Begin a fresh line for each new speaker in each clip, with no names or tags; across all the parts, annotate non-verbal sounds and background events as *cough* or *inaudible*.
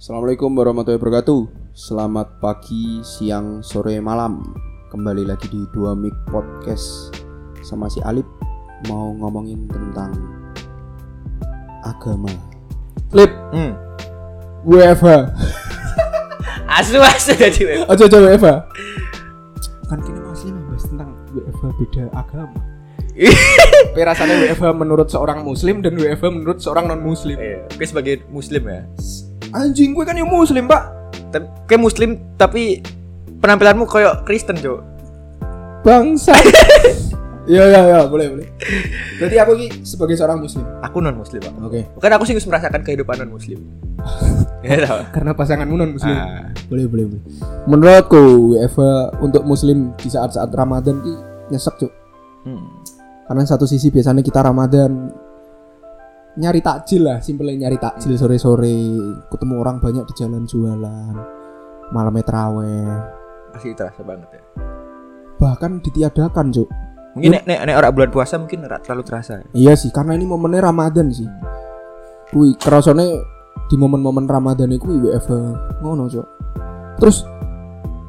Assalamualaikum warahmatullahi wabarakatuh. Selamat pagi, siang, sore, malam. Kembali lagi di Dua Mic Podcast sama si Alip mau ngomongin tentang agama. Lip,
Hmm.
WFH.
Asu asu jadi web.
Aja aja WFH. Kan kini masih membahas tentang WFH beda *laughs* agama. Tapi rasanya WFH menurut seorang muslim dan WFH menurut seorang non muslim.
Gue sebagai muslim ya.
Anjing gue kan yang muslim, Pak.
Tapi gue muslim tapi penampilanmu kayak Kristen, Cuk.
Bangsa. Ya ya ya, boleh boleh. Berarti aku ini sebagai seorang muslim.
Aku non muslim, Pak.
Oke.
Bukan aku sih wis merasakan kehidupan non *laughs* muslim. ya tau.
Karena pasanganmu non muslim.
Ah,
Boleh boleh boleh. Menurutku WFH untuk muslim di saat-saat Ramadan ki nyesek cuk.
hmm.
Karena satu sisi biasanya kita Ramadan nyari takjil lah, simpelnya nyari takjil sore-sore, ketemu orang banyak di jalan jualan, malamnya teraweh,
Masih terasa banget ya.
bahkan ditiadakan cuk.
Mungkin nek nek, nek orang bulan puasa mungkin ora terlalu terasa. ya.
Iya sih, karena ini momennya Ramadan sih. Kui kerasane di momen-momen Ramadan itu WFH ngono cuk. Terus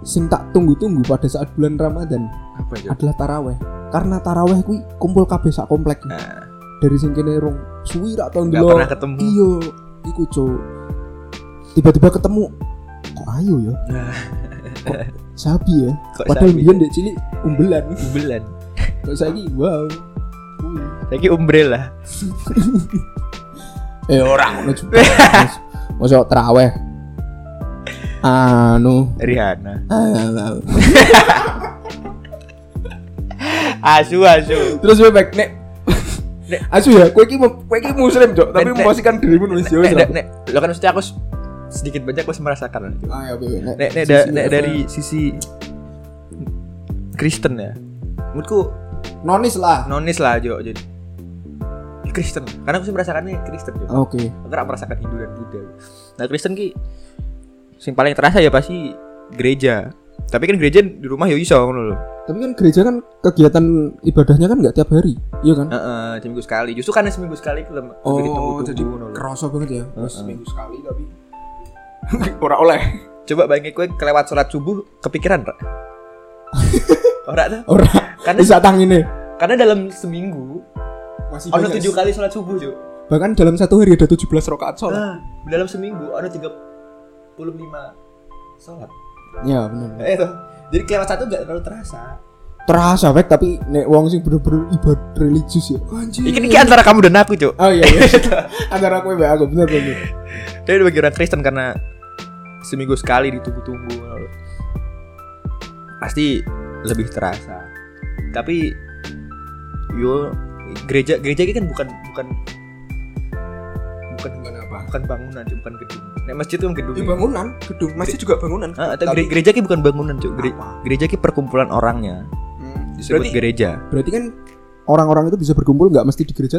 sing tak tunggu-tunggu pada saat bulan Ramadan
Apa, Cuk?
adalah taraweh. Karena taraweh kui kumpul kabeh sak komplek.
Nah,
Dari sing kene rong suwi rak tahun
enggak
dulu.
pernah ketemu.
Iya, iku cuk. Tiba-tiba ketemu kok ayo ya.
Nah,
Sabi ya.
kok
Padahal
sapi?
biyen dek cilik umbelan.
Bulan.
Kok saiki wow. Kui.
Lagi umbrella.
Eh orang ngono juga. Mas- Masuk teraweh. Anu.
Rihanna.
Ah,
Asu asu.
Terus gue back nek.
Nek.
Asu ya, kowe iki mu- kowe iki muslim, Cok, tapi
Nek, nek.
memposisikan dirimu nulis Jawa.
Nek, nek,
Nek,
nek, lo kan maksudnya aku s- sedikit banyak aku merasakan. Cuk.
Ayo bebe, Ah, ya, nek.
nek, nek, da-
Sisi
nek
apa?
dari sisi Kristen ya menurutku
nonis lah.
nonis lah Jo jadi Kristen karena aku sih merasakannya Kristen Jo
Oke.
aku nggak merasakan Hindu dan Buddha nah Kristen ki sing paling terasa ya pasti gereja tapi kan gereja di rumah yo iso ngono lho
Tapi kan gereja kan kegiatan ibadahnya kan nggak tiap hari, iya kan? Oh,
heeh seminggu sekali justru karena seminggu sekali aku lem- lebih ditunggu-tunggu ngono lho.
kerasa banget ya. Terus
Heeh.
minggu sekali tapi
*laughs*
ora oleh.
coba bayangin kowe kelewat sholat subuh kepikiran
*laughs*
Ra. ora tuh
Ora.
Karena-
Bisa tangine.
karena dalam seminggu
Masih
ono
banyak.
tujuh kali sholat subuh Jo
Bahkan dalam satu hari ada 17 rakaat sholat.
Nah, dalam seminggu ada 35 sholat.
Ya benar.
Eh toh. Jadi kelewat satu gak terlalu terasa.
terasa wek tapi nek wong sing bener-bener ibadah religius ya anjir
Ini, ini antara kamu dan aku, Cuk.
oh iya iya antara aku mbak aku bener bener
Tapi bagi orang Kristen karena seminggu sekali ditunggu-tunggu. Pasti lebih terasa. Tapi yo gereja gereja ini kan bukan bukan bukan
apa
bukan bangunan, Cuk, bukan gedung. Nek masjid itu kan gedung.
ya, bangunan gedung masjid juga bangunan kan?
Ah, atau gere- gereja ini bukan bangunan, Cuk. Gere-
Apa?
Gereja ini perkumpulan orangnya.
Hmm,
Disebut
berarti,
gereja.
berarti kan orang-orang itu bisa berkumpul nggak mesti di gereja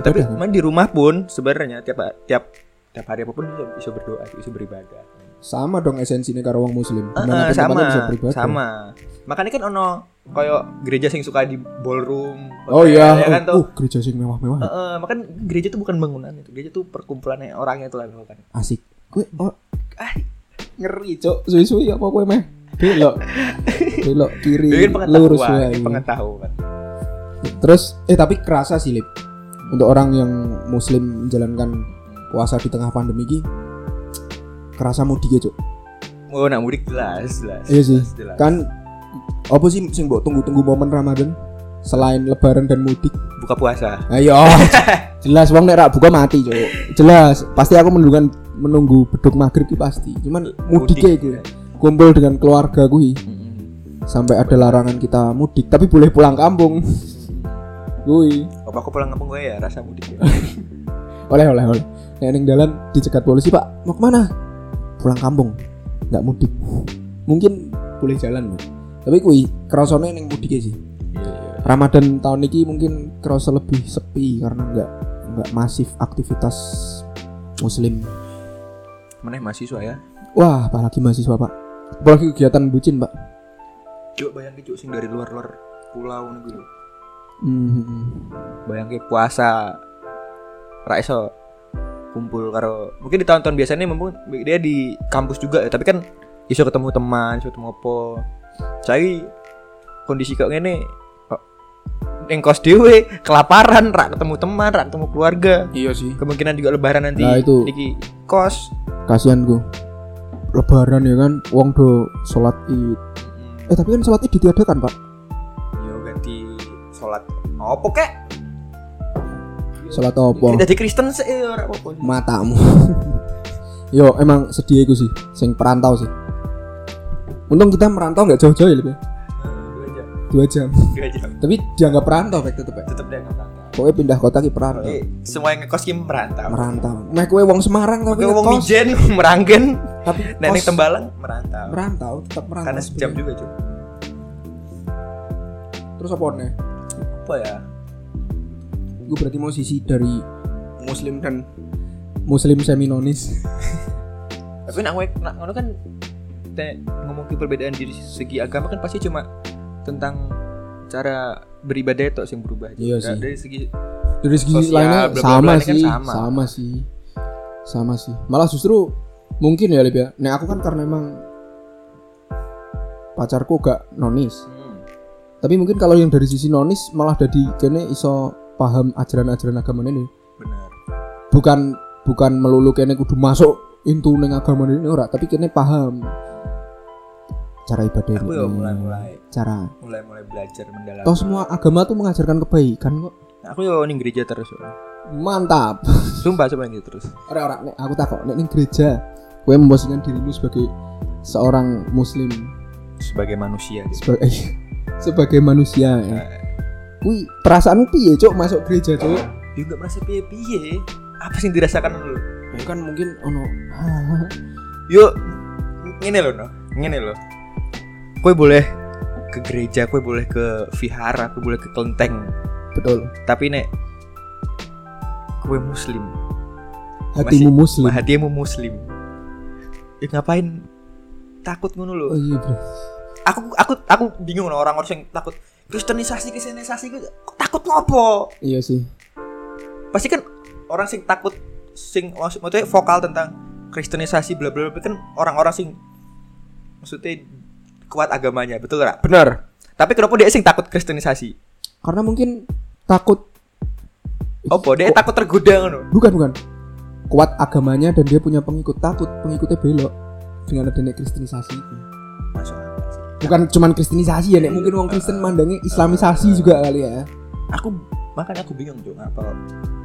tapi
tapi
ibadah kan?
main di rumah pun sebenarnya tiap tiap tiap hari apapun bisa, bisa berdoa, bisa beribadah.
sama dong esensinya karo wong muslim
Heeh,
Dimanapun
sama,
tempatnya bisa beribadah.
sama. Makanya kan ono koyo gereja sing suka di ballroom.
oh
hotel,
iya Eh.
ya kan
oh,
tuh.
uh, gereja sing mewah-mewah
Heeh, makanya gereja tuh bukan bangunan itu. Gereja tuh perkumpulannya orangnya itu lah kan.
asik gue oh, ah, ngeri cok suwi-suwi apa gue meh *laughs* belok belok kiri
Jadi kan
lurus iya,
pengetahuan,
wae.
ini pengetahuan. kan.
Terus eh tapi kerasa sih Lip. Untuk orang yang muslim menjalankan puasa di tengah pandemi ini kerasa mudik ya, Cuk.
Oh, nak mudik jelas, jelas.
Iya sih.
jelas, jelas.
Kan apa sih sing mbok tunggu-tunggu momen Ramadan selain lebaran dan mudik?
buka puasa.
Ayo. jelas wong nek rak buka mati, Cuk. Jelas, pasti aku menunggu menunggu beduk maghrib ki pasti. Cuman mudik ya
Mudik, kan. Mm-hmm.
iki. Kumpul dengan keluarga kui
Mm-mm.
sampai ada larangan kita mudik, tapi boleh pulang kampung. Kui.
Apa aku pulang kampung gue ya rasa mudik
*laughs*
ya.
oleh oleh oleh nek ning dalan dicegat polisi pak mau kemana pulang kampung nggak mudik mungkin boleh jalan Mas. tapi kui kerasone neng mudik e sih
Iya, iya.
Ramadan tahun ini mungkin kerasa lebih sepi karena nggak nggak masif aktivitas muslim
Mana mahasiswa ya?
wah apalagi mahasiswa pak apalagi kegiatan bucin pak
Coba bayangin cuk sing dari luar-luar pulau nih gue.
Hmm, hmm, hmm.
bayangke puasa ra iso kumpul karo mungkin di tahun-tahun biasanya mumpung dia di kampus juga ya, tapi kan iso ketemu teman, iso ketemu apa. Saya kondisi kok ngene kok ning kos dhewe kelaparan, rak ketemu teman, rak ketemu keluarga.
iya sih
Kemungkinan juga lebaran nanti
Nah, itu.
iki kos.
kasihan gue lebaran ya kan wong do sholat id eh
Hmm,
tapi kan sholat id ditiadakan pak
Yo ganti salat. Opo kek?
sholat apa
Dadi Kristen sih ya, ora apa-apa.
matamu *laughs* yo emang sedih iku sih sing perantau sih untung kita merantau nggak jauh-jauh ya lebih
Eh,
dua jam tapi dianggap perantau Pak, tetep ya
Tetep dia nggak
pokoknya pindah kota ki perantau
Oke, semua yang ngekos ki merantau.
merantau meh kowe wong Semarang tapi
Oke, wong
ngekos,
mijen meranggen,
tapi
nek ning
kos
Tembalang merantau.
merantau iya. tetap merantau
Karena sejam juga, Cuk.
terus apa nih
Apa ya?
gue berarti mau sisi dari muslim dan muslim seminonis
Tapi nak ngwe- nak ngono kan te, ngomong ke perbedaan dari segi agama kan pasti cuma tentang cara beribadah itu yang berubah aja.
Iya
Nggak
sih.
Dari segi
dari segi
Sosial,
lainnya
bla-bla-bla
sama
ini kan
sih
sama.
sama. sih sama sih malah justru mungkin ya Lip ya nek aku kan karena emang pacarku gak nonis
hmm,
tapi mungkin kalau yang dari sisi nonis malah jadi kene iso paham ajaran-ajaran agama ini
benar.
bukan bukan melulu kene kudu masuk into neng agama ini ora tapi kene paham cara ibadah
Aku ya
ini,
mulai-mulai
cara
mulai-mulai belajar mendalam.
toh semua agama tuh mengajarkan kebaikan kok
Aku yo ning gereja terus. soalnya.
mantap
Sumpah sumpah ning terus.
ora ora nek aku takok nek ning gereja kowe memposisikan dirimu sebagai seorang muslim
Sebagai manusia gitu.
sebagai *laughs* sebagai manusia ya. Kuwi perasaan piye cok masuk gereja cok?
Yo gak merasa piye-piye. Apa sih yang dirasakan lu?
Ya kan mungkin ono
yuk ngene loh no ngene loh kue boleh ke gereja kue boleh ke vihara kue boleh ke kelenteng
*laughs* betul
tapi nek kue muslim
hatimu muslim.
hatimu muslim ya ngapain takut ngono loh
Oh iya bro.
aku aku aku bingung no, orang-orang yang takut kristenisasi kristenisasi gue takut ngopo
Iya sih.
pasti kan orang sing takut sing maksud- maksudnya vokal tentang kristenisasi bla bla bla kan orang-orang sing maksudnya kuat agamanya betul gak? benar tapi kenapa dia sing takut kristenisasi
Karena mungkin takut Oh,
opo dia takut tergoda ngono
bukan bukan kuat agamanya dan dia punya pengikut takut pengikutnya belok dengan adanya kristenisasi itu.
Masuk akal sih.
Bukan cuman kristenisasi ya nek mungkin orang Kristen mandangnya islamisasi juga kali ya.
aku makanya aku bingung tuh ngapa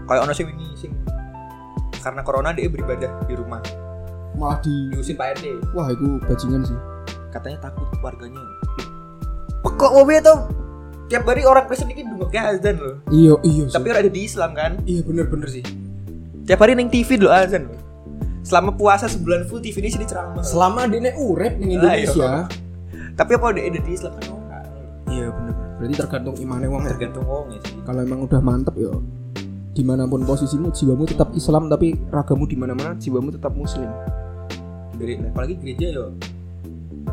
kayak ono sing ini sing karena corona dia beribadah di rumah
Malah di
diusir pak rt
wah itu bajingan sih.
katanya takut warganya pekok mobil tuh tiap hari orang Kristen ini dungoknya azan loh
Iya, iya. sih.
tapi orang ada di Islam kan
iya bener-bener sih.
Tiap hari neng TV dulu azan loh. Selama puasa sebulan full TV ini sini ceramah.
Selama dene urip ning
Lah,
Indonesia.
Tapi apa udah ada di Islam kan ora.
Iya bener. Berarti tergantung imane wong. ya.
Tergantung wong ya sih.
Kalau emang udah mantep ya dimanapun posisimu jiwamu tetap Islam tapi ragamu di mana-mana jiwamu tetap Muslim.
Dari apalagi gereja yo.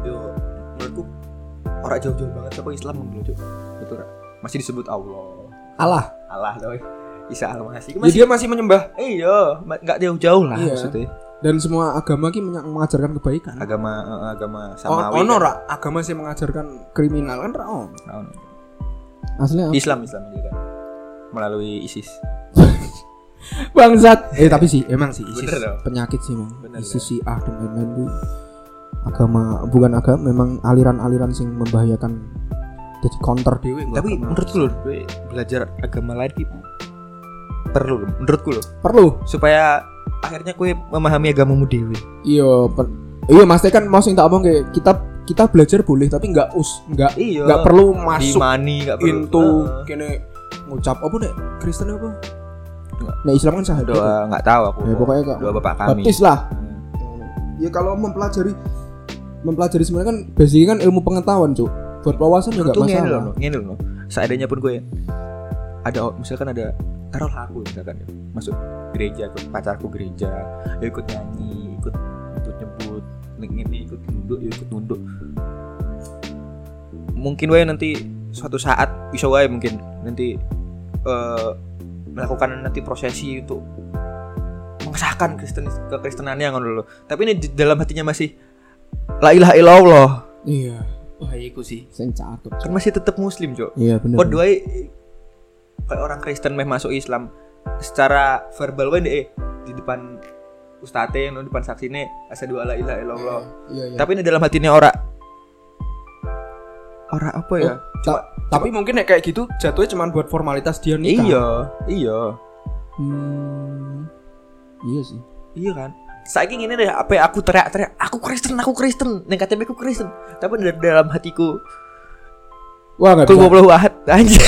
Yo menurutku orang jauh-jauh banget sama Islam belum cuk. Betul ra? Masih disebut Allah.
Allah.
Allah loh. Isa Al-Masih.
Jadi
Masih
dia masih menyembah
iya, ma- nggak jauh-jauh lah
Iya.
maksudnya.
dan semua agama ki menya- mengajarkan kebaikan.
Agama eh, agama
Oh,
samawi.
ono
kan.
ra agama sih mengajarkan kriminal kan ra ono.
Ono.
Asli
Islam Islam juga kan. Melalui ISIS.
bangsat. Eh tapi sih emang sih ISIS
Bener dong.
penyakit sih emang.
Bener,
ISIS sih ah dan lain-lain itu agama bukan agama memang aliran-aliran sing membahayakan jadi counter dewe nggak
Tapi
agama.
menurutku loh be- belajar agama lain ki perlu loh, menurutku loh
perlu
supaya akhirnya kue memahami agamamu dewi.
iya per- iya maksudnya kan mau sing tak omong kayak kita kita belajar boleh tapi nggak us nggak
Iya.
nggak perlu
Masuk
masuk
nggak perlu.
into
Eh,
kene ngucap apa nek Kristen apa
Nggak.
nah Islam kan syahadat
doa nggak tahu aku.
ya pokoknya kok
doa bapak kami.
baptis lah ya kalau mempelajari mempelajari sebenarnya kan basicnya kan ilmu pengetahuan cuk buat wawasan juga
Itu ngene
masalah
loh, ngene loh. Seadanya pun gue ada misalkan ada taruh aku misalkan ya, masuk gereja ikut pacarku gereja ya ikut nyanyi ikut ikut nyebut nek ini ikut nunduk ya ikut nunduk mungkin wae nanti suatu saat bisa wae mungkin nanti eh, melakukan nanti prosesi untuk mengesahkan Kristen kekristenannya ngono lho. Tapi ini di dalam hatinya masih la ilaha illallah.
Iya,
Wah, iku sih.
sing cakep.
Kan masih tetap muslim, Cok.
Iya bener.
Kok dua kayak orang Kristen meh masuk Islam secara verbal wae deh, di depan ustate yang di depan saksine asyhadu alla ilaha illallah.
Iya, iya.
Tapi ini dalam hatinya ora ora apa ya?
Oh, ta- tapi mungkin ya kayak gitu jatuhnya cuma buat formalitas dia nikah.
Iya, iya.
Hmm, iya sih.
Iya kan? Saiki ngene deh, apa ya, aku teriak-teriak, aku Kristen, aku Kristen, neng KTP ku Kristen. Tapi dari dalam hatiku,
Wah nggak
aku
bisa.
goblok banget *laughs* anjir.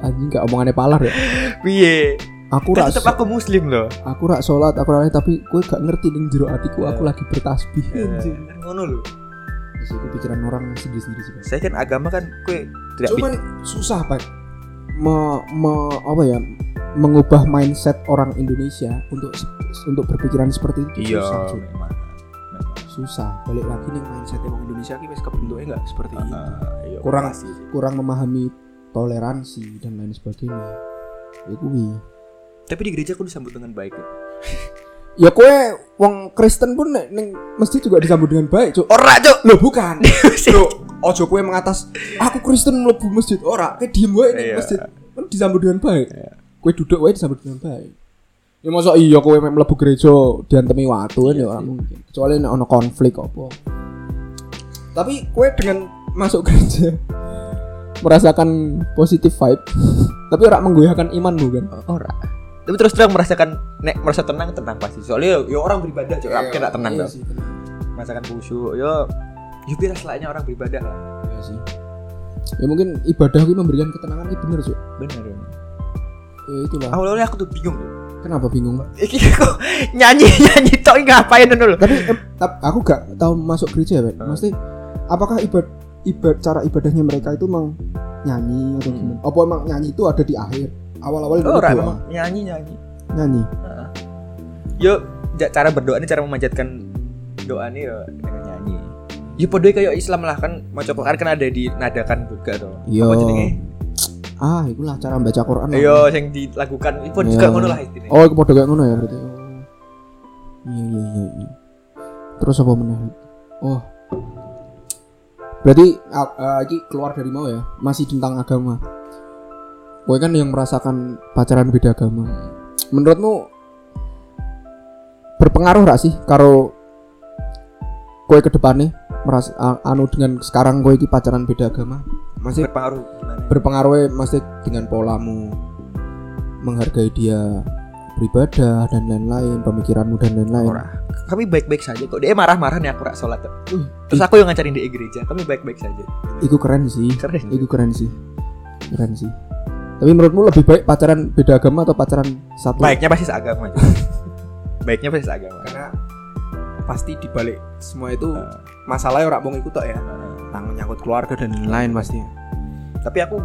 Anjing nggak omongannya palar ya.
Piye?
Aku
Kan
rak
tetep aku muslim loh.
aku rak sholat aku rak tapi gue gak ngerti ning jero hatiku aku lagi bertasbih. Anjing.
Kan ngono loh.
Terus itu pikiran orang sendiri sendiri sih. Mas.
Saya kan agama kan kue tidak
Cuman susah pak. Me, me- apa ya mengubah mindset orang Indonesia untuk untuk berpikiran seperti
bi-
itu
Iya,
susah cuy.
memang.
susah balik lagi nih mindset orang Indonesia kita kebentuknya nggak seperti
Memang.
itu
Ah, iya,
Kurang.
sih.
kurang memahami toleransi dan lain sebagainya ya kuwi
Tapi di gereja aku disambut dengan baik. ya.
ya kue wong Kristen pun nek ning masjid juga disambut dengan baik cuk
Ora, Cuk.
lo
*laughs*
bukan lo ojo kue mengatas aku Kristen mlebu masjid ora kue diem wae ning
Iya.
masjid kan disambut dengan baik kue duduk wae disambut dengan baik ya masa iya kue mek mlebu gereja diantemi watu
Iya
kan ya ora mungkin kecuali nek ono konflik apa tapi kue dengan masuk gereja *laughs* merasakan positif vibe *laughs* tapi ora menggoyahkan imanmu kan
Ora. Tapi terus terang merasakan nek merasa tenang tenang pasti. Soalnya ya orang beribadah, Cuk. Ora mungkin gak tenang
Iya
dong.
sih, tenang.
Merasakan khusyuk, yo. Yo biar selainnya orang beribadah lah.
Iya sih. Ya mungkin ibadah itu memberikan ketenangan itu bener sih.
Bener. ya.
Ya itulah.
Awalnya aku tuh bingung.
Kenapa bingung?
*laughs* Iki kok nyanyi nyanyi tok iki ngapain ngono lho.
Tapi em, tap- aku gak tahu masuk gereja ya, Pak. Mesti apakah ibad ibad cara ibadahnya mereka itu emang nyanyi atau
Hmm.
gimana? Apa emang nyanyi itu ada di akhir? Awal-awal itu
Ora
doa,
memang nyanyi nyanyi.
nyanyi.
Yo ja- cara berdoa ini cara memanjatkan doa ini yo dengan nyanyi. Ya podo kayak Islam lah kan maca Quran kan ada di nadakan juga tuh.
Yo.
Apa jenenge?
Ah, itulah cara membaca Quran. lah.
Yo sing dilakukan itu juga
Iya.
ngono lah intinya.
Oh, itu podo kayak ngono ya berarti. Oh. Iya iya iya. iya. Terus apa meneh? Oh. Berarti ah, ah, iki keluar dari mau ya, masih tentang agama. Gue kan yang merasakan pacaran beda agama. Menurutmu berpengaruh gak sih karo kowe ke depannya meras a- anu dengan sekarang kowe iki pacaran beda agama? Masih
Berpengaruh gimana?
berpengaruh mesti dengan polamu menghargai dia beribadah dan lain-lain pemikiranmu dan lain-lain
Ora. Kami baik-baik saja kok. Dia marah-marah nih aku rak sholat. tuh.
Wih,
Terus aku yang ngajarin di gereja. Kami baik-baik saja.
itu keren sih
Keren.
itu keren sih keren sih tapi menurutmu lebih baik pacaran beda agama atau pacaran satu
Baiknya pasti
*laughs*
seagama. aja. Baiknya pasti seagama.
karena pasti dibalik semua itu masalahnya orang mau ikut tok ya tanggung nyangkut keluarga dan lain-lain pasti
tapi aku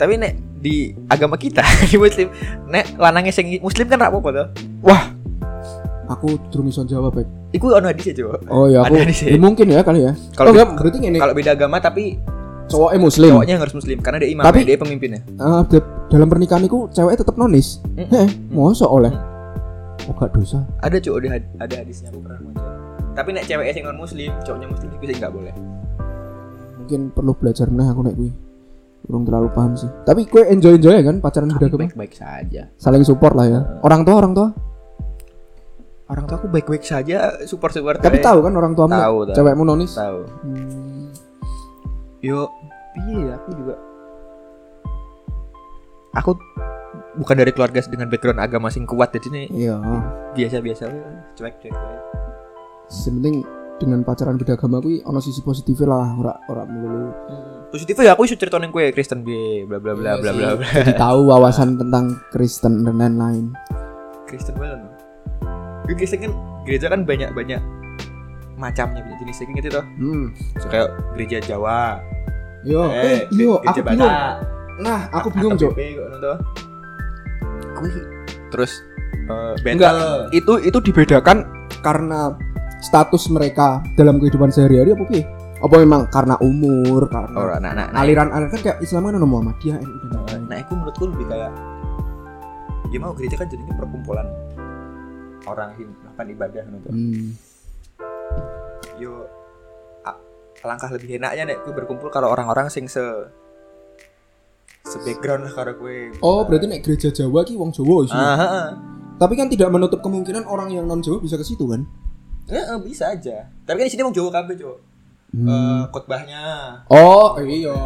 tapi nek di agama kita *laughs* di muslim nek lanangnya sing muslim kan rak apa to
aku durung iso jawab Beb.
iku ono hadis ya coba
oh ya aku
Ada di sini.
ya, mungkin ya kali ya oh,
Kalau di-
enggak, berarti ini
kalau beda agama tapi
cowoknya muslim
cowoknya harus muslim karena dia imam
Tapi-
dia pemimpinnya
Ah, da- dalam pernikahan itu ceweknya tetap nonis
Mm.
Heeh, mosok oleh oh gak dosa
ada cowok ada, had- ada hadisnya aku pernah baca tapi nek ceweknya sing non muslim cowoknya muslim itu sih nggak boleh
mungkin perlu belajar meneh aku nek kuwi kurang terlalu paham sih tapi kue enjoy enjoy ya kan pacaran beda agama
baik baik saja
saling support lah ya orang tua orang tua
orang tua aku baik baik saja support support
tapi tahu kan orang tua
Eh, Tahu, tahu.
cewekmu nonis
tahu
Hmm,
yo piye ya, aku juga aku bukan dari keluarga dengan background agama sing kuat jadi nih
iya
biasa-biasa aja, cuek-cuek aja.
sementing dengan pacaran beda agama kuwi ono sisi positifnya lah ora ora melulu
positifnya ya aku iso cerita neng kue Kristen B bla bla bla bla bla bla *laughs*
jadi tahu wawasan tentang Kristen dan lain-lain
Kristen banget gue Kristen kan gereja kan banyak banyak macamnya banyak jenisnya kayak gitu toh
hmm
so, kayak gereja Jawa
yo
Oh,
eh,
ge-
yo
gereja
aku bingung nah aku bingung cok
aku terus eh,
Enggak.
battle
itu itu dibedakan
karena status mereka dalam kehidupan sehari-hari apa piye apa memang karena umur karena
orang anak-anak
aliran aliran kan kayak Islam kan ada Muhammadiyah NU dan lain-lain.
Nah, aku menurutku lebih kayak ya mau gereja kan jadinya perkumpulan orang yang melakukan ibadah gitu.
Hmm.
yo a- alangkah lebih enaknya nek gue berkumpul kalau orang-orang sing se se background lah karo gue
Oh, berarti nek gereja Jawa ki wong Jawa sih.
ah, ah, ah.
Tapi kan tidak menutup kemungkinan orang yang non Jawa bisa ke situ kan?
Eh, eh, bisa aja tapi kan di sini mau Jawa kabeh cok Eh, khotbahnya
Hmm. Oh, iya.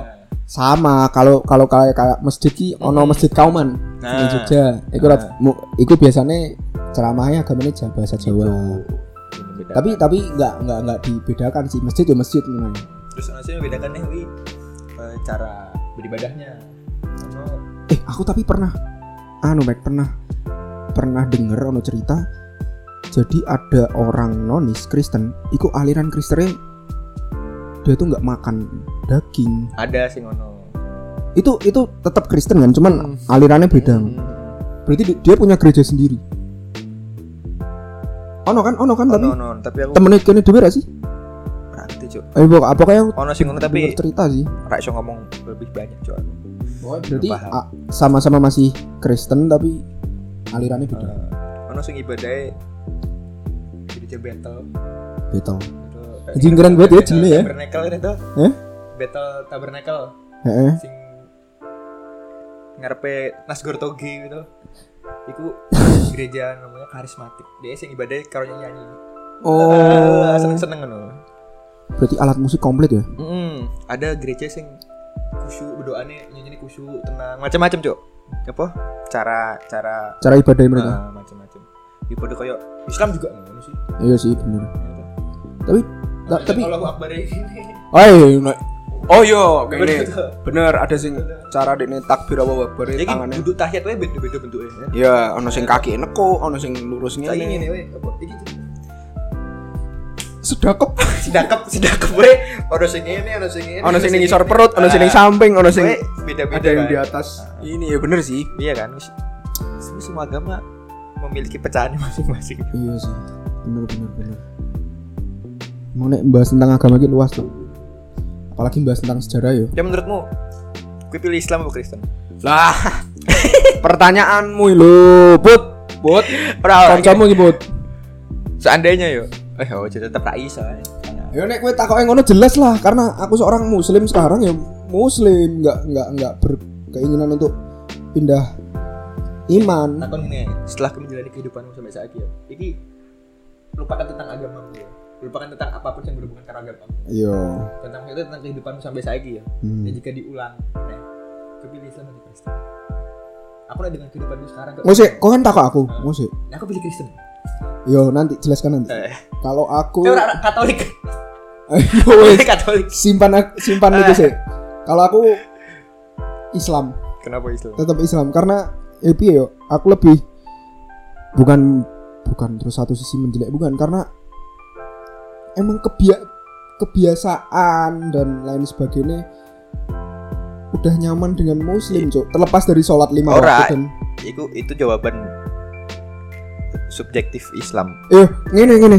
Sama kalau kalau kayak kayak masjid ki ono masjid Kauman di
Nah.
Jogja. Iku rat- mu- iku biasane ceramahnya agamanya Jawa bahasa Jawa.
Gitu.
Tapi
tapi
tapi nggak nggak nggak dibedakan sih masjid ya masjid memang.
terus ono sing bedakan nih wi eh, cara beribadahnya ono
Eh, aku tapi pernah anu Mac pernah pernah denger ono cerita jadi ada orang nonis Kristen, iku aliran Kristennya dia tuh nggak makan daging.
ada sing ono
Itu itu tetap Kristen kan,
Hmm.
cuman alirannya beda. Berarti di- dia punya gereja sendiri. Ono kan, ono kan tapi
Hmm. ono ono tapi aku
temennya kene dhewe ra sih?
berarti cok
Eh, pokok apa kayak
ono sing ono tapi
cerita sih.
rak iso ngomong lebih banyak cok aku.
Berarti
paham.
a- sama-sama masih Kristen tapi alirannya beda.
Eh, ono sing ibadahe gereja battle
Betul.
itu eh,
Anjing keren banget ya jenenge ya.
tabernakel kan itu
Eh?
battle tabernakel
Heeh.
sing ngarepe Nasgor Toge gitu
*laughs*
itu gereja namanya karismatik dia sing ibadahnya karo nyanyi
Oh.
seneng seneng kan
Berarti alat musik komplit ya?
ada gereja sing kusyuk berdoanya nyanyi kusyuk tenang macam-macam cok apa cara cara
Cara ibadah mereka.
Nah.
eh, macam-macam ya pada kayak Islam juga ngono sih
Iya sih bener. Tapi ta- tapi
Iya, kalau akbar ini
oh iya, iya.
Iya. Oh yo, kayak gini. Bener ada sing cara dekne takbir apa wabar
jadi
tangannya.
duduk tahiyat wae beda-beda bentuknya ya.
Ya, ono sing kaki neko, ono sing lurus
Saiki
ngene.
ngene wae ya, apa iki jenenge?
Sedakep.
sidakep sidakep wae ono sing ngene ono sing Ah. ngene
Ono sing ning ngisor perut, ono sing ning samping, ono sing
Wae
ada
beda-beda
yang
Nah. kan.
di atas. Ini ya bener sih.
iya kan Wis- semua semua agama memiliki pecahan masing-masing
Iya sih. Bener bener bener. Mau nek bahas tentang agama gitu luas tuh. Apalagi bahas tentang sejarah ya.
ya menurutmu gue pilih Islam apa Kristen
*laughs*
Lah. Pertanyaanmu lho, Bud. Bud.
Oh,
Ora, ora.
Kancamu iki, Bud.
seandainya yo eh oh jadi tetap ra iso eh.
Ya nek kowe takoke ngono jelas lah karena aku seorang muslim sekarang ya muslim nggak nggak nggak berkeinginan untuk pindah iman.
takon ngene setelah kamu menjalani kehidupanmu sampai saat ini ya iki lupakan tentang agamamu ya lupakan tentang apapun yang berhubungan dengan agamamu
Iya.
tentang itu tentang kehidupanmu sampai saat ini ya
Hmm.
Dan jika diulang, nah, gue pilih Islam atau Kristen. Aku udah dengan kehidupanku sekarang. kok.
Musik, kau kan takut aku, musik.
Nah, aku pilih Kristen.
Yo nanti jelaskan nanti.
Eh,
Kalau aku, *laughs*
eh, ora- ora, Katolik.
Ayo, wes.
*laughs* Katolik.
simpan simpan itu sih. Kalau aku Islam,
Kenapa Islam?
tetap Islam karena ya piye yo, aku lebih bukan bukan terus satu sisi menjelek bukan karena emang kebia kebiasaan dan lain sebagainya udah nyaman dengan muslim cok terlepas dari sholat lima
Ora.
waktu dan
Itu itu jawaban subjektif Islam.
eh ngene ngene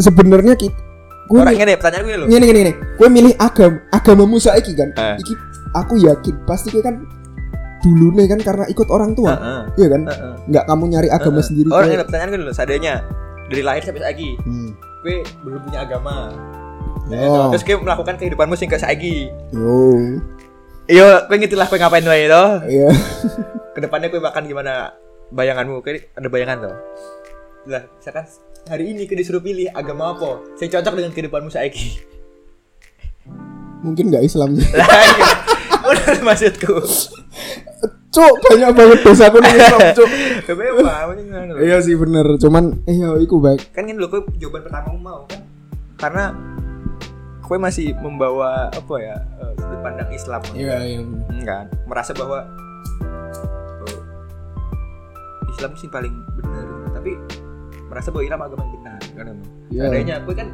sebenarnya kita gue
Orang ini pertanyaan gue loh.
ngene ngene ngene gue milih agama agamamu saiki kan
Eh.
iki aku yakin pasti kowe kan dulu nih kan karena ikut orang tua
Heeh.
iya kan
heeh.
nggak kamu nyari agama
Heeh.
sendiri
Orang
kayak-
ini pertanyaan gue loh. Seandainya dari lahir sampai saiki,
Hmm.
gue belum punya agama. Nah,
Yo.
Terus gue melakukan kehidupanmu sing kayak saiki.
Oh, yo
Yo, gue Iya, ngerti lah gue ngapain wae toh.
iya
kedepannya gue makan gimana bayanganmu kayak ada bayangan tuh lah misalkan hari ini gue disuruh pilih agama apa saya cocok dengan kehidupanmu saiki
mungkin nggak Islam sih
lah iya. *laughs* bener maksudku
cok banyak banget dosa aku nih
*laughs*
Islam cok
Bebas, maksudnya gimana loh.
iya sih bener cuman eh yo iku baik
kan ini loh gue jawaban pertama gue mau kan karena gue masih membawa apa ya eh, sudut pandang Islam
iya
Hmm, kan merasa bahwa oh, Islam sih paling benar tapi merasa bahwa Islam agama yang benar kan emang
Iya.
Seandainya gue kan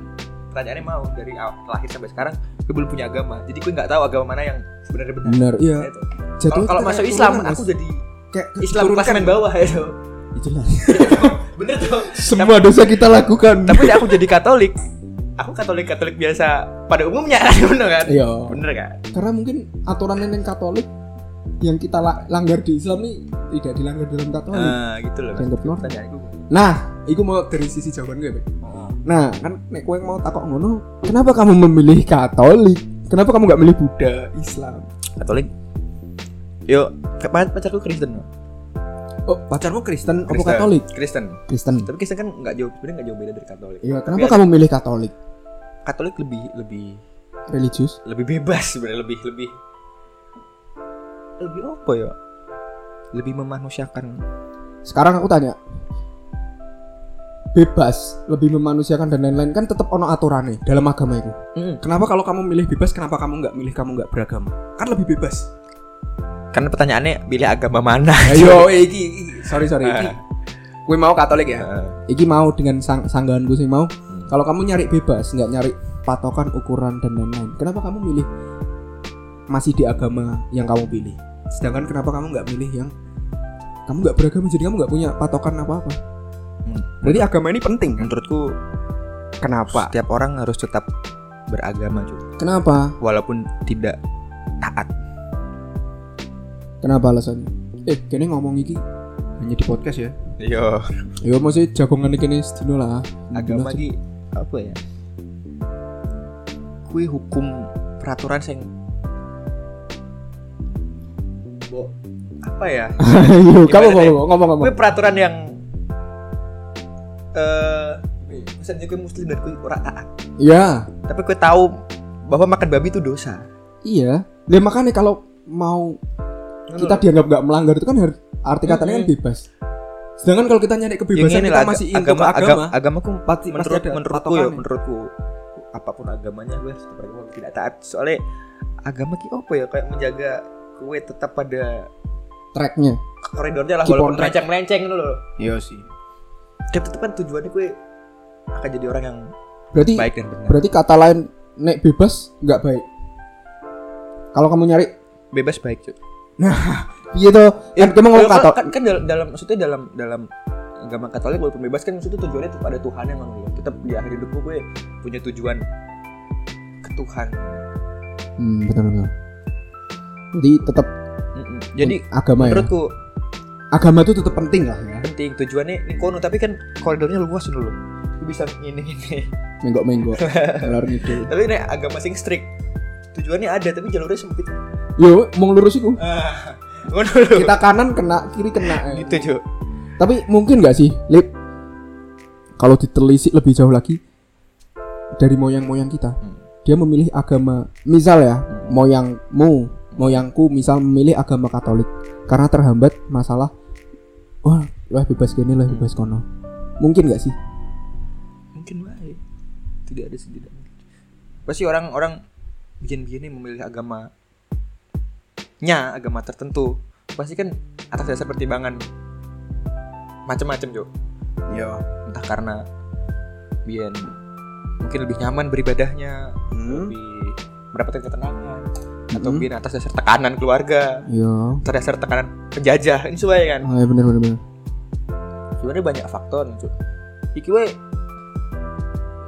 pertanyaannya mau dari awal lahir sampai sekarang gue belum punya agama jadi gue nggak tahu agama mana yang sebenarnya benar
benar iya
Ya itu.
Jatuhnya
kalau kalau
kita kayak
masuk Islam
turunan,
aku
Mas.
jadi
kayak kan?
Islam kelas
keturunan.
men bawah ya itu *laughs*
Itu lah.
bener tuh
*laughs* semua dosa kita lakukan
tapi aku jadi Katolik aku Katolik Katolik biasa pada umumnya *laughs* bener kan
iya
bener kan
karena mungkin aturan yang Katolik yang kita la- langgar di Islam nih tidak dilanggar dalam tata Wali.
Nah, gitu loh. Mas.
Dianggap normal.
Pertanyaanku.
Nah, iku mau dari sisi jawaban gue, Bek.
Oh,
Nah, kan nek kowe mau takok ngono, kenapa kamu memilih Katolik? Kenapa kamu nggak milih Buddha, Islam?
Katolik. Yo, pacar pacarku Kristen. loh.
Oh, pacarmu Kristen, apa
Kristen.
Katolik?
Kristen.
Kristen.
Tapi Kristen kan nggak jauh, sebenarnya nggak jauh beda dari Katolik.
Iya,
Tapi
kenapa kamu milih Katolik?
Katolik lebih lebih
Religius?
lebih bebas sebenarnya lebih lebih lebih apa ya? Lebih memanusiakan.
Sekarang aku tanya. Bebas, lebih memanusiakan dan lain-lain kan tetap ono aturannya dalam agama itu.
Mm.
Kenapa kalau kamu milih bebas, kenapa kamu nggak milih kamu nggak beragama? Kan lebih bebas.
Karena pertanyaannya pilih agama mana?
*laughs* Ayo, iki, iki. sorry sorry,
Eh.
iki.
Ah.
Gue mau Katolik ya.
Iya.
Iki mau dengan sang sanggahan gue sih mau.
Hmm.
Kalau kamu nyari bebas, nggak nyari patokan ukuran dan lain-lain. Kenapa kamu milih masih di agama yang kamu pilih? Sedangkan kenapa kamu nggak milih yang kamu nggak beragama jadi kamu nggak punya patokan apa-apa?
Berarti agama ini penting kan?
Menurutku
Kenapa?
setiap orang harus tetap beragama juga
Kenapa?
walaupun tidak taat
Kenapa alasannya? Eh, kene ngomong iki.
Hanya di podcast ya.
yo
Ya masih jagongan iki nih sedino lah.
*laughs*
Sedino
agama ki apa ya kui hukum peraturan sing Bo- apa ya
aja. Ayo,
Gimana
kamu
nih?
ngomong ngomong ngomong.
kui peraturan yang eh misalnya kui muslim dan kui ora taat
Ya,
tapi kui tahu bahwa makan babi itu dosa
iya. Lah makanya kalau mau kita dianggap nggak melanggar itu kan har- arti katanya kan
Mm-mm.
bebas. Sedangkan kalau kita nyari
Yang
kebebasan
ini
kita
lah,
masih ingin
agama,
agama,
agama,
agama.
agama, agamaku
Pasti- pasti
menurut
ada
menurutku ya
patokannya.
menurutku apapun agamanya gue sebagai orang tidak taat soalnya agama ki apa ya kayak menjaga gue tetap pada
Tracknya.
koridornya lah
Keep
walaupun
on track.
melenceng melenceng dulu loh
Iya sih.
dan tetap kan tujuannya gue akan jadi orang yang
Berarti
baik dan benar
berarti kata lain nek bebas nggak baik. Kalau kamu nyari
bebas baik cuy
*laughs* piye to? Kan kamu ngomong
Kalau-
kata
kan, kan dal- dalam maksudnya dalam dalam agama Katolik walaupun bebas kan maksudnya tujuannya itu pada Tuhan yang ngono loh. Tetap di akhir hidup gue punya tujuan ke Tuhan.
Hmm, betul betul. Jadi tetap
Mm-mm. Jadi
agama ya.
menurutku
Agama itu tetap penting lah ya.
penting tujuannya ini kono tapi kan koridornya luas dulu lu bisa ini ini *laughs*
Menggok-menggok. Kelar gitu.
tapi ini agama sing strict tujuannya ada tapi jalurnya sempit
Yo, mau lurus iku.
ah ngono lho.
Kita kanan kena, kiri kena. ya.
gitu cuy
Tapi mungkin nggak sih, Lip? Kalau ditelisik lebih jauh lagi dari moyang-moyang kita,
Hmm.
dia memilih agama. Misal ya, moyangmu, moyangku misal memilih agama Katolik karena terhambat masalah wah, lah bebas gini,
Hmm.
lah bebas kono. Mungkin nggak sih?
mungkin baik tidak ada sih tidak mungkin. pasti orang orang bikin begini memilih agama nya agama tertentu pasti kan atas dasar pertimbangan macam-macam cuy
Iya.
entah karena biar mungkin lebih nyaman beribadahnya
Hmm.
lebih mendapatkan ketenangan atau
Mm.
mungkin atas dasar tekanan keluarga
Iya.
atas dasar tekanan penjajah ini sesuai kan
Oh, ya bener bener bener.
sebenarnya banyak faktor cuy iki we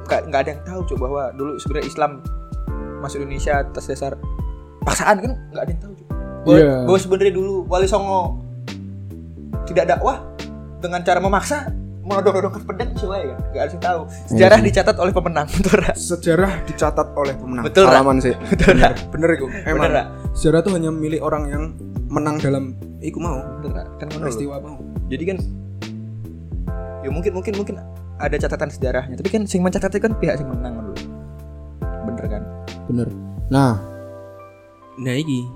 nggak nggak ada yang tahu cuy bahwa dulu sebenarnya Islam masuk Indonesia atas dasar paksaan kan nggak ada yang tahu cuy bahwa,
Iya.
bahwa sebenarnya dulu Wali Songo tidak dakwah dengan cara memaksa menodong-nodongkan pedang sesuai kan nggak ada yang tahu sejarah
Iya.
dicatat oleh pemenang *laughs* betul Ra?
Sejarah dicatat oleh pemenang.
Betul, Ra?
Salaman sih.
betul Ra?
Bener iku.
bener
Emang
Ra?
sejarah tuh hanya milik orang yang menang dalam iku mau
bener Ra? kan ngono lho.
peristiwa mau.
jadi kan ya mungkin mungkin mungkin ada catatan sejarahnya tapi kan sing mencatatnya kan pihak sing menang dulu bener kan
Bener. Nah,
Nah iki.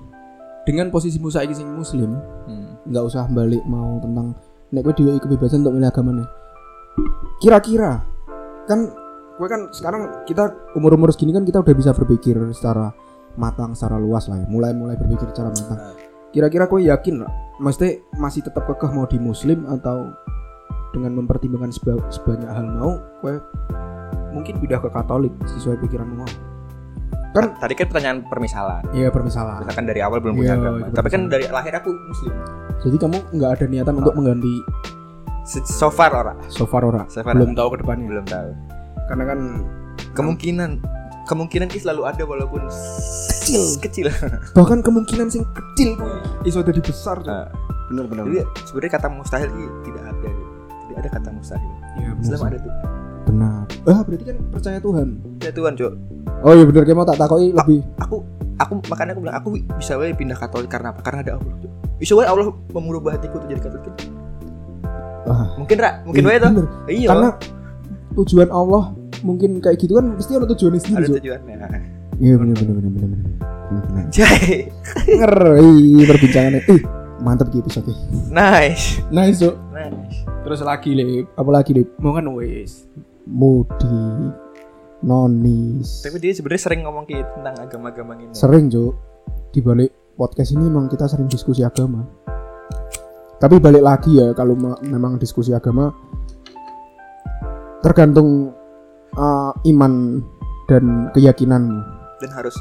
dengan posisi Musa ini sing muslim,
hmm.
nggak usah balik mau tentang nek gue diberi kebebasan untuk milih agama nih. Kira-kira kan
Gue kan sekarang kita
umur-umur segini kan kita udah bisa berpikir secara matang, secara luas lah ya. Mulai-mulai berpikir secara matang.
kira-kira gue yakin lah. Maksudnya masih tetap kekeh mau di muslim atau
Dengan mempertimbangkan seba- sebanyak hal mau,
gue mungkin pindah ke Katolik sesuai pikiranmu mau.
Kan-
tadi kan pertanyaan permisalan
ya permisalan.
misalkan dari awal belum
Iya,
punya agama
itu
tapi kan
permisalan.
dari lahir aku muslim
Jadi kamu nggak ada niatan untuk mengganti
Se- so far ora
sofar ora.
so far
Belum
ora.
tahu ke depannya.
belum tahu
Karena kan
kemungkinan kemungkinan ini selalu ada walaupun *laughs* kecil kecil
Bahkan kemungkinan sing kecil
Eh,
iso jadi besar tuh.
bener bener
Jadi sebenarnya kata mustahil ini tidak ada. gitu. Tidak ada kata mustahil.
Ya,
Islam ada tuh.
benar. Ah, berarti kan percaya Tuhan.
Ya Tuhan, Cok.
Oh iya benar, kayak mau tak takoi lebih.
Aku aku makanya aku bilang aku bisa wae pindah Katolik karena apa? Karena ada Allah. Cok. Bisa wae Allah mengubah hatiku untuk jadi Katolik.
Ah.
Mungkin ra, mungkin
Iya,
wae toh.
bener.
Iya.
Karena tujuan Allah mungkin kayak gitu kan pasti ada tujuannya sendiri.
ada
Cuk.
tujuannya. *laughs*
Iya benar benar benar benar benar. Benar, benar.
Jai.
Ngeri perbincangannya. Eh, mantap gitu episode.
Nice.
Nice, Cuk.
Nice.
Terus lagi, Lip. Apa lagi, Lip?
mau kan wes
Mudi, Nonis.
Tapi dia sebenarnya sering ngomong kayak gitu tentang agama-agama ini.
Sering, Cuk. Di balik podcast ini emang kita sering diskusi agama. Tapi balik lagi ya kalau me- memang diskusi agama tergantung uh, iman dan keyakinanmu.
dan harus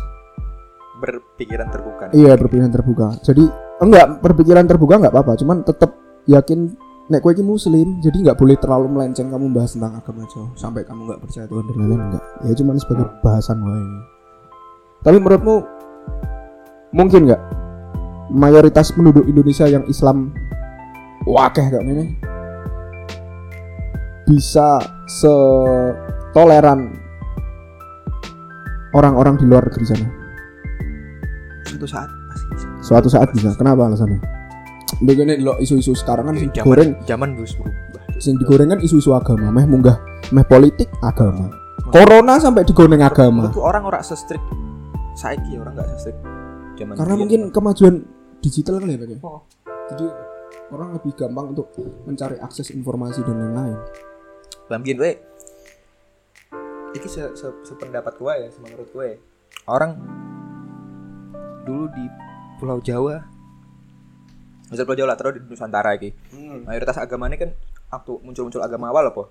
berpikiran terbuka. nih.
Iya berpikiran terbuka. Jadi enggak berpikiran terbuka enggak apa-apa. Cuman tetap yakin nek kowe iki muslim, jadi enggak boleh terlalu melenceng kamu bahas tentang agama Jo sampai kamu enggak percaya Tuhan dan lain-lain enggak. Ya cuman sebagai bahasan wae. Tapi menurutmu mungkin enggak mayoritas penduduk Indonesia yang Islam wakeh kayak ini bisa setoleran orang-orang di luar negeri sana?
Suatu saat pasti.
suatu saat bisa kenapa alasannya begini lo isu-isu sekarang kan sing digoreng
zaman harus berubah.
sing digoreng kan isu-isu agama meh munggah meh politik agama corona sampai digoreng agama
Menurutku orang ora se-strict saiki orang nggak se-strict zaman
karena
dia.
mungkin kemajuan digital kali ya Pak, ya?
Iya. Oh.
jadi orang lebih gampang untuk mencari akses informasi dan lain-lain
Lah, mungkin gue iki se, se, sependapat gue ya sama menurut gue orang dulu di Pulau Jawa misal Pulau Jawa lah terus di Nusantara iki mayoritas agamanya kan waktu muncul-muncul agama awal apa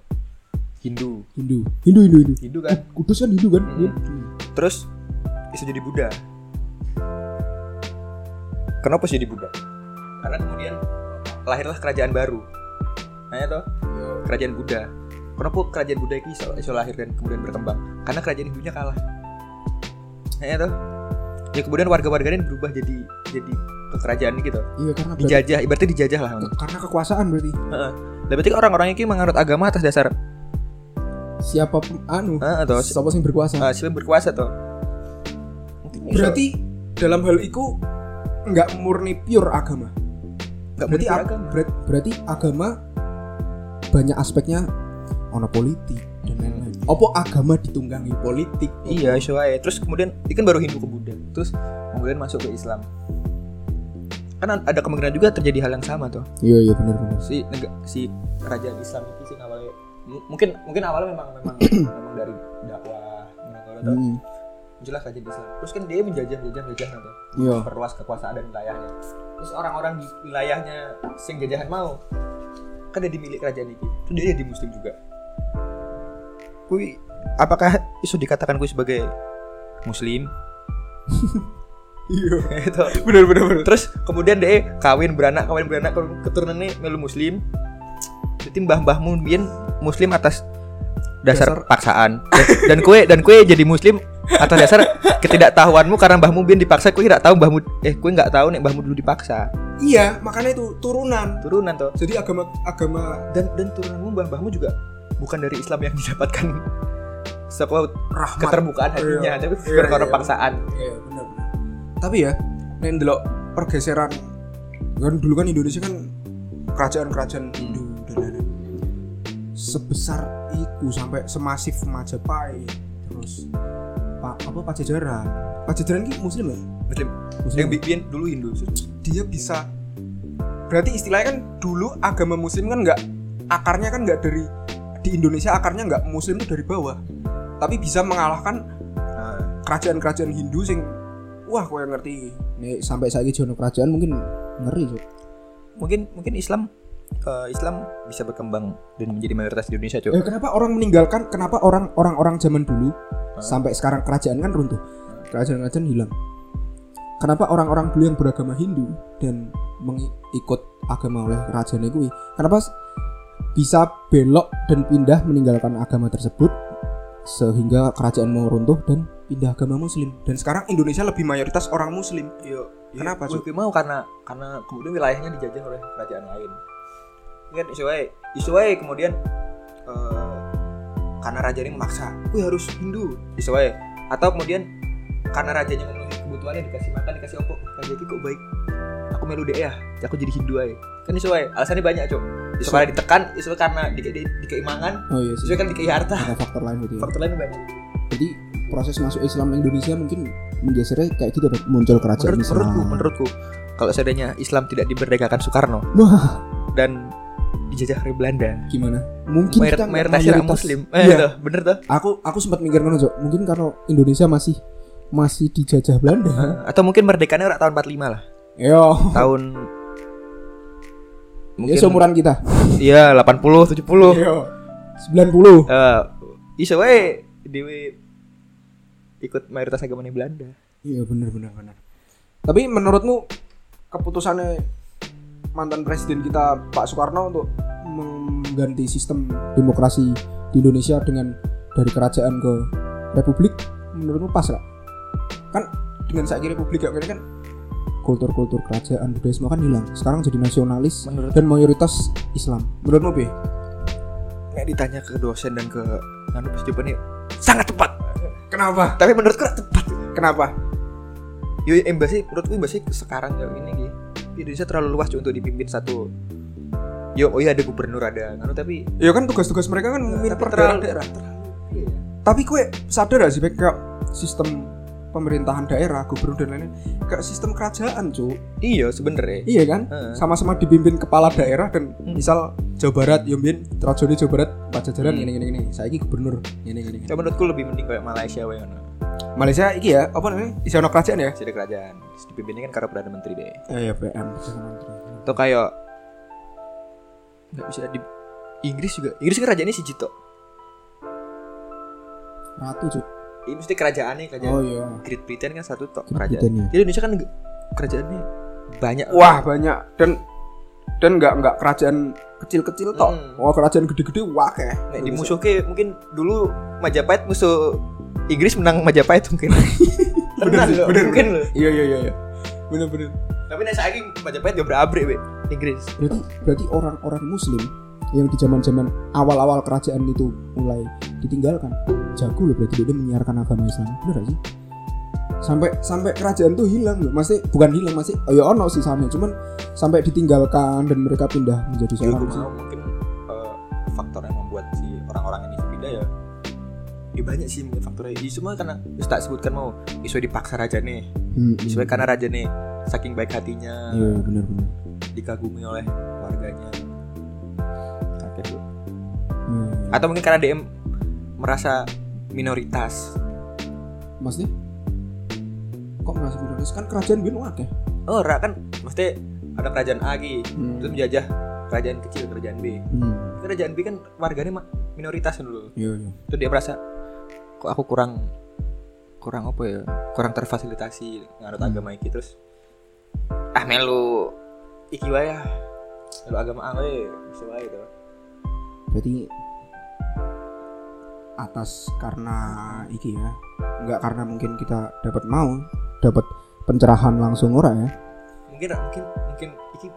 Hindu
Hindu Hindu Hindu Hindu
Hindu kan
Kudus kan Hindu kan
Hmm. terus bisa jadi Buddha kenapa sih jadi Buddha karena kemudian lahirlah kerajaan baru nah ya toh
Iya.
kerajaan Buddha kenapa kerajaan Buddha ini iso, iso lahir dan kemudian berkembang karena kerajaan Hindunya kalah nah ya toh ya kemudian warga-warganya berubah jadi jadi ke kerajaan ini gitu
iya karena berarti,
dijajah ibaratnya dijajah lah
karena kekuasaan berarti
Heeh. Lah, berarti orang-orang ini menganut agama atas dasar
siapa pun- anu
Heeh, toh si-
siapa yang berkuasa
eh, siapa yang berkuasa toh
berarti dalam hal itu nggak murni pure agama
nggak
berarti
berarti
ag-
agama
ber- berarti agama banyak aspeknya ono politik dan lain-lain. Opo agama ditunggangi politik?
Hmm. Iya, iso wae. Terus kemudian ini kan baru Hindu ke Buddha. Terus kemudian masuk ke Islam. Kan an- ada kemungkinan juga terjadi hal yang sama tuh.
Iya iya benar benar.
Si nega, si kerajaan Islam itu sih awalnya m- mungkin mungkin awalnya memang memang *clears throat* memang dari dakwah mengenai tuh
Hmm,
muncullah kerajaan Islam. Terus kan dia menjajah menjajah menjajah tuh.
Iya.
Memperluas kekuasaan dan wilayahnya. Terus orang-orang di wilayahnya sing jajahan mau kan jadi milik kerajaan ini. Terus dia jadi muslim juga. Kui apakah isu dikatakan kui sebagai muslim? *laughs*
Iya.
itu bener bener bener Gitu. terus kemudian deh kawin beranak kawin beranak kawin- keturunannya melu muslim jadi mbah mbahmu biyen muslim atas dasar, paksaan dan, dan kue dan kue jadi muslim atas dasar ketidaktahuanmu karena mbahmu biyen dipaksa kue tidak tahu mbahmu eh kue nggak tahu nih mbahmu dulu dipaksa
Iya, makanya itu turunan.
turunan toh
Jadi agama agama
dan dan turunanmu mbah mbahmu juga bukan dari Islam yang *laughs* didapatkan sekolah
rahmat.
keterbukaan hatinya
Iya.
tapi
Iya,
karena
iya.
paksaan
Iya benar benar. Tapi ya, nek ndelok pergeseran kan dulu kan Indonesia kan kerajaan-kerajaan Hindu dan lain-lain. Sebesar itu sampai semasif Majapahit terus pa, apa Pajajaran. Pajajaran ini muslim ya?
muslim
Muslim.
yang bi- biyen dulu Hindu
dia bisa berarti istilahnya kan dulu agama muslim kan nggak akarnya kan nggak dari di Indonesia akarnya nggak muslim itu dari bawah tapi bisa mengalahkan
Nah,
kerajaan-kerajaan Hindu sing wah kau yang ngerti
Nek sampai saiki jono kerajaan mungkin ngeri, Cuk.
mungkin mungkin Islam eh, Islam bisa berkembang dan menjadi mayoritas di Indonesia
Iya.
Eh,
cuy
kenapa orang meninggalkan? Kenapa orang orang-orang zaman dulu sampai sekarang kerajaan kan runtuh, kerajaan-kerajaan hilang. Kenapa orang-orang dulu yang beragama Hindu dan mengikut agama oleh kerajaan itu, kenapa s- bisa belok dan pindah meninggalkan agama tersebut sehingga kerajaan mau runtuh dan pindah agama muslim
Dan sekarang Indonesia lebih mayoritas orang muslim.
Yo,
Kenapa, Cuk?
Gue Iya, mau karena karena kemudian wilayahnya dijajah oleh kerajaan lain. Ini Kan isu wae, isu wae kemudian eh, karena raja ini memaksa, gue harus Hindu, isu wae. Atau kemudian karena rajanya memenuhi kebutuhannya dikasih makan dikasih opo, raja ini kok baik. Aku melu deh ya, aku jadi Hindu aja. Kan isu wae, alasannya banyak cok. Isu karena ditekan, isu karena di, di, dikeimangan,
oh iya
isu
sih
kan dikei harta.
ada faktor lain gitu ya
Faktor lain banyak.
jadi proses masuk Islam ke Indonesia mungkin menggesernya kayak gitu dapat muncul kerajaan
Menurut,
Islam
menurutku, menurutku kalau seandainya Islam tidak diberdekakan Soekarno,
wah
dan dijajah oleh Belanda.
gimana mungkin
Mayor,
kita nggak
mayoritasnya orang Muslim. Eh,
*laughs* Iya.
tuh, bener tuh.
aku aku sempat mikir ngono Cok. mungkin kalau Indonesia masih masih dijajah Belanda
Atau mungkin merdekanya orang tahun 45 lah.
yo
Tahun
ya seumuran kita Iya.
Iya, 80, 70.
yo 90
Eh, iso wae dhewe ikut mayoritas agamanya Belanda.
iya bener bener bener
Tapi menurutmu keputusannya mantan presiden kita Pak Soekarno untuk
mengganti sistem demokrasi di Indonesia dengan dari kerajaan ke republik menurutmu pas Kan lah
dengan saiki republik kayak gini kan
kultur-kultur kerajaan budaya semua kan hilang sekarang jadi nasionalis dan mayoritas Islam menurutmu Be?
Nek ditanya ke dosen dan ke anu pas jawabannya sangat tepat.
kenapa?
Tapi menurutku nggak tepat.
Kenapa?
Yo embassy menurutku embassy sekarang ya ini Ki. Indonesia terlalu luas Cuk, untuk dipimpin satu. Yo, oh iya ada gubernur ada, anu tapi
Ya kan tugas-tugas mereka kan memimpin
Nah, tapi
per
terlalu-
daerah.
iya.
Tapi kue sadar gak sih Bek, kayak sistem pemerintahan daerah, gubernur dan lain-lain kayak sistem kerajaan, Cuk.
Iya sebenernya
Iya kan?
Heeh.
Sama-sama dipimpin kepala daerah dan
Hmm.
misal Jawa Barat, Yombin, Trajone Jawa Barat, Pajajaran
Hmm.
ini ini ini. Saiki gubernur ini ini ini.
Ya menurutku lebih mending kayak Malaysia wae ngono.
Malaysia iki ya, apa namanya? Isi ono kerajaan ya?
Masih ada kerajaan. Terus Dipimpinnya kan karo perdana menteri deh.
eh ya PM
Atau kayak nggak bisa di Inggris juga. Inggris kan kerajaannya siji tok.
ratu Cuk.
Ini Iya, mesti kerajaannya kerajaan.
oh iya
Great Britain kan satu tok
Great
kerajaan.
Britain, ya.
Jadi Indonesia kan nggak- kerajaannya banyak.
Wah, banyak dan dan nggak nggak kerajaan kecil-kecil tok.
Hmm.
Oh, kerajaan gede-gede wakeh.
Nek di musuh ke mungkin dulu Majapahit musuh Inggris menang Majapahit mungkin. Tenang
sih,
loh,
bener,
mungkin loh.
Iya iya iya iya. Bener-bener.
Tapi nek saiki Majapahit jobrak abrik we Inggris.
berarti berarti orang-orang muslim yang di zaman-zaman awal-awal kerajaan itu mulai ditinggalkan jago loh berarti dia menyiarkan agama Islam bener gak sih sampai sampai kerajaan tuh hilang loh masih bukan hilang masih oh ya ono sih sama cuman sampai ditinggalkan dan mereka pindah menjadi seorang
Ya, gue
muslim
mau mungkin eh, faktor yang membuat si orang-orang ini pindah ya ya banyak sih mungkin faktornya isu mah karena terus tak sebutkan mau isu dipaksa raja nih
Hmm, hmm.
isu karena raja nih saking baik hatinya
iya benar-benar
dikagumi oleh warganya kaget lu
Iya, iya.
atau mungkin karena DM merasa minoritas
maksudnya kok merasa minoritas kan kerajaan bin wakil
oh ra kan mesti ada kerajaan A ki
Hmm.
terus menjajah kerajaan kecil kerajaan B kerajaan B kan warganya mah minoritas kan dulu
iya iya
itu dia merasa kok aku kurang kurang apa ya kurang terfasilitasi nganut
Hmm.
agama iki terus ah melu iki wae ah. melu agama A wae bisa wae gitu." to
berarti atas karena iki ya nggak karena mungkin kita dapat mau dapat pencerahan langsung ora ya
mungkin mungkin mungkin iki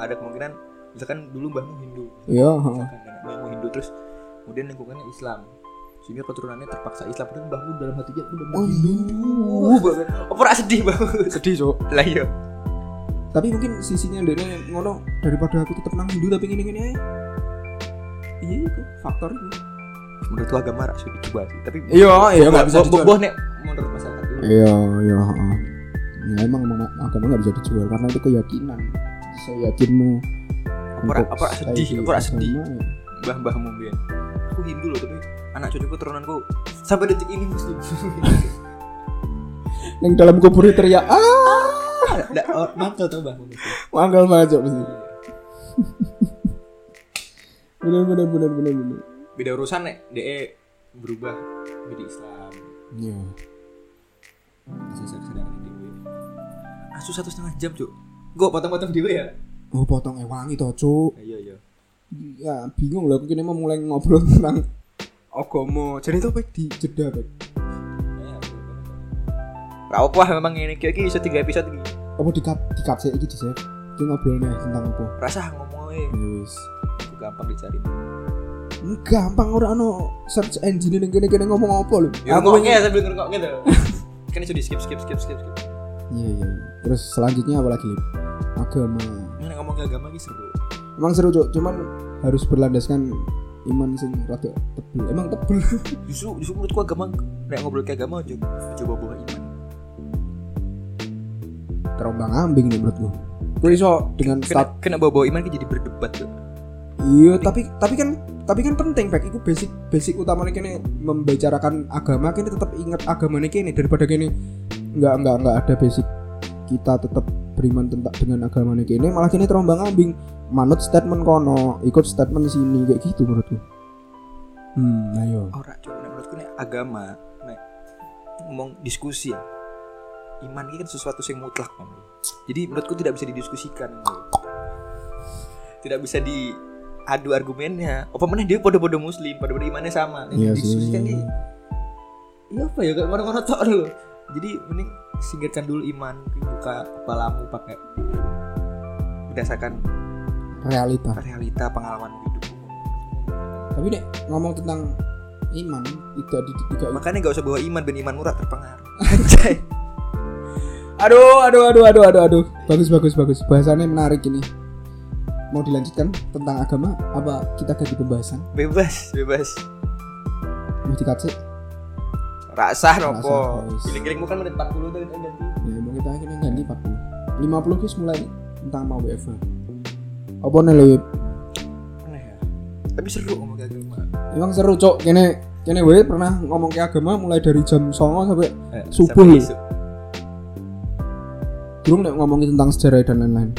ada kemungkinan misalkan dulu mbahmu Hindu
iya heeh.
misalkan nenek moyangmu Hindu terus kemudian lingkungannya Islam sehingga keturunannya terpaksa Islam padahal mbahmu dalam hatinya udah
Oh,
mau Hindu
iya.
banget apa ra sedih mbahmu
Sedih, Cuk.
lah iya, yo
tapi mungkin sisinya dia ngono daripada aku tetap nang Hindu tapi ngene ngene ae.
Iya itu faktor itu.
menurutku agama ra sudah dicoba sih tapi
iya iya
Bo-
nggak bisa
bo- bo-
dijual
boh, nek menurut masyarakat dulu
iya iya heeh. ya, emang emang agama nggak bisa dijual karena itu keyakinan seyakinmu
Apa ra-
untuk
apa ra
stay
sedih,
di
apa ra sedih?
agama, ya.
mbah mbahmu bian aku Hindu loh tapi anak cucuku turunanku sampai detik ini muslim
yang dalam kubur teriak ah
*laughs* nggak oh, mantel tuh mbahmu muslim
Manggal banget Cok, mesti. Bener bener bener bener bener.
beda urusan nek de berubah jadi Islam
Iya.
sesuai kesadaran dewe asuh satu Ah, setengah jam cuk gue potong-potong dewe ya
Oh potong ewangi toh Cuk.
iya iya
Ya bingung loh mungkin emang mulai ngobrol tentang
Ogomo. Jadi itu baik di
jeda Bek.
Eh, aku- Gak apa memang ini kayak iki iso tiga episode iki.
Apa di cut di cut sih iki di save. Kita ngobrolnya tentang apa?
Rasa ngomong ae
Ya wis.
Itu gampang dicari.
Ini Gampang ora ono search engine ning kene-kene ngomong apa lho.
Ya
Aku
ngomongnya
ingin-
sambil ngerokok gitu. *laughs* kan itu di skip skip skip skip skip.
Iya iya. iya. Terus selanjutnya apa lagi? Lip? Agama.
Ini ngomong agama iki seru.
Emang seru cok, cuman harus berlandaskan iman sing rada tebel. Emang tebel.
Justru justru menurutku agama nek ngobrol ke agama coba coba buka iman.
Terombang ambing nih menurutku. Gue iso dengan
Kena,
stat.
kena bawa-bawa iman kan jadi berdebat tuh.
Iya, tapi tapi kan tapi kan penting pak. Itu basic basic utamanya kene membicarakan agama kene tetap ingat agamanya kene daripada kene nggak nggak nggak ada basic kita tetap beriman tentang dengan agamanya kene malah kene terombang ambing manut statement kono ikut statement sini kayak gitu menurutku. Hmm, ayo.
Ora cuma nek menurutku nek agama nek ngomong diskusi ya. Iman ini kan sesuatu yang mutlak kan. Jadi menurutku tidak bisa didiskusikan. Tidak bisa diadu argumennya. Apa mana dia podo-podo muslim, podo-podo imannya sama. Nek
Iya sih.
didiskusikan ini. Iya apa ya gak ngono-ngono tok lho. Jadi mending singkirkan dulu iman, buka kepalamu pakai berdasarkan
Realita.
realita pengalaman hidupmu.
Tapi nek ngomong tentang iman tidak di tidak
Makanya gak usah bawa iman, ben iman murah terpengaruh. Anjay.
Aduh, aduh, aduh, aduh, aduh, aduh. Bagus, bagus, bagus. Bahasannya menarik ini. Mau dilanjutkan tentang agama? Apa kita ganti pembahasan?
*laughs* bebas bebas
Mau dikat sih?
rasa nopo
bebas.
giling-gilingmu kan menit 40 tuh kita ganti
Ya, mau kita akhirnya ganti 40. 50 guys mulai tentang mau WFH. Apa nih lo? Yip?
aneh ya tapi seru ngomong kayak gitu
Emang seru cok. Kene kene gue pernah ngomong ke agama mulai dari jam 09.00 sampai
Eh,
Subuh.
sampai isu.
durung nek ngomongin tentang sejarah dan lain-lain.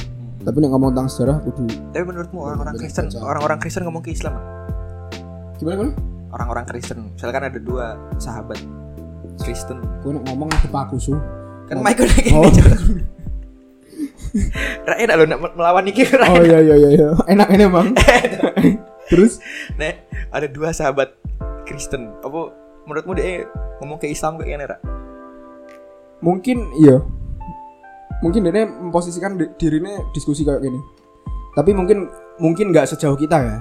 Tapi nek ngomong tentang sejarah kudu
tapi menurutmu orang-orang
Bener,
Kristen
bener.
orang-orang Kristen ngomong ke Islam
gimana gimana?
orang-orang Kristen misalkan ada dua sahabat Kristen
Gue nek ngomong ada paku su.
kan
Oh.
Michael kayak
Oh.
gini *laughs* Rakyat lo nak melawan Niki
Oh iya iya iya, iya. Enak ini, Bang. Terus
Nek ada dua sahabat Kristen Apa menurutmu dia ngomong ke Islam kayak gini Ra?
mungkin iya mungkin dia memposisikan di- dirinya diskusi kayak gini tapi mungkin mungkin nggak sejauh kita ya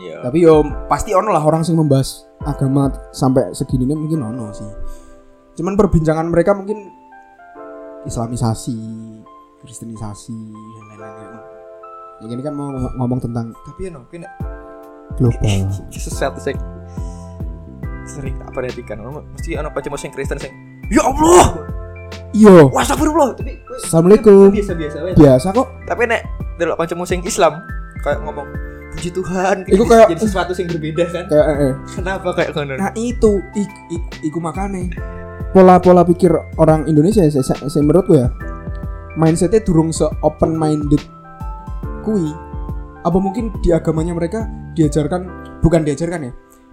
Iya
tapi yo pasti ono lah orang sing membahas agama sampai segini mungkin ono sih cuman perbincangan mereka mungkin islamisasi kristenisasi dan lain-lain ya ini kan mau ngom- ngomong tentang
Tapi ya no, kayak nek *laughs*
global
sesuatu sing sering tak perhatikan Ono- mesti anak pacar sing Kristen sing ya Allah
iyo
wah astagfirullah tapi
Assalamualaikum. Ya.
biasa biasa aja
biasa kok
tapi nek delok pacar sing Islam kayak ngomong puji Tuhan
Iku
jadi-
kayak-
jadi sesuatu yang berbeda kan
kayak eh, eh.
kenapa kayak ngono
Nah itu ik, ik, iku makane pola-pola pikir orang Indonesia saya, saya, saya menurutku ya mindsetnya durung se open minded kui apa mungkin di agamanya mereka diajarkan bukan diajarkan ya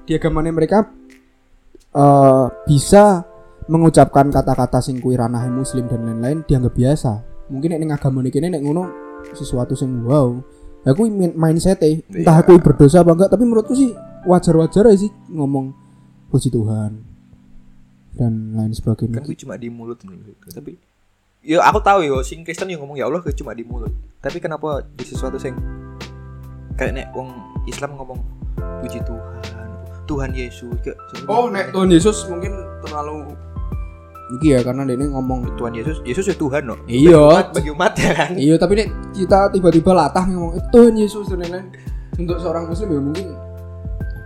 di agamanya mereka eh, bisa mengucapkan kata-kata sing kui ranah muslim dan lain-lain dianggap biasa mungkin nek ning agama ini nek ngono sesuatu sing wow Nah, aku mindset entah
Iya.
aku berdosa apa enggak tapi menurutku sih wajar-wajar aja sih ngomong puji Tuhan dan lain sebagainya
kan gue cuma di mulut ngono gitu. tapi ya aku tahu ya sing Kristen yang ngomong ya Allah gue cuma di mulut tapi kenapa di sesuatu sing kayak nek wong Islam ngomong puji Tuhan Tuhan Yesus kayak gitu.
oh nek Tuhan Yesus mungkin terlalu
iki ya karena dia ini ngomong
Tuhan Yesus Yesus ya Tuhan loh
iya
umat bagi umat ya kan
iya tapi nek kita tiba-tiba latah ngomong "Eh, Tuhan Yesus dan lain-lain untuk seorang muslim ya mungkin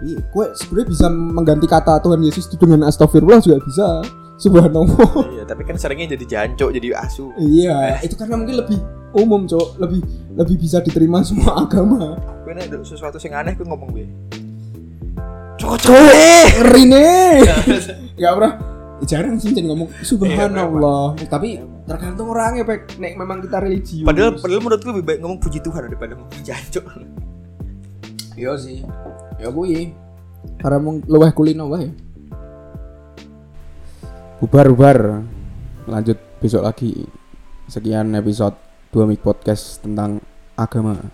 tapi gue sebenarnya bisa mengganti kata Tuhan Yesus itu dengan astagfirullah juga bisa subhanallah *laughs*
iya tapi kan seringnya jadi jancok jadi asu
iya itu karena mungkin lebih umum cok lebih lebih bisa diterima semua agama
gue nek ada sesuatu yang aneh gue ngomong gue cowok cowok
*laughs*
ngeri nih nggak pernah Ya, jarang sih jadi ngomong subhanallah tapi tergantung orangnya pek nek memang kita religius
padahal padahal menurut gue lebih baik ngomong puji Tuhan daripada ngomong jancok
iya sih ya gue karena mau luweh kulino wae
bubar bubar lanjut besok lagi sekian episode dua mic podcast tentang agama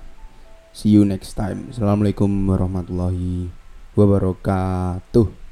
see you next time assalamualaikum warahmatullahi wabarakatuh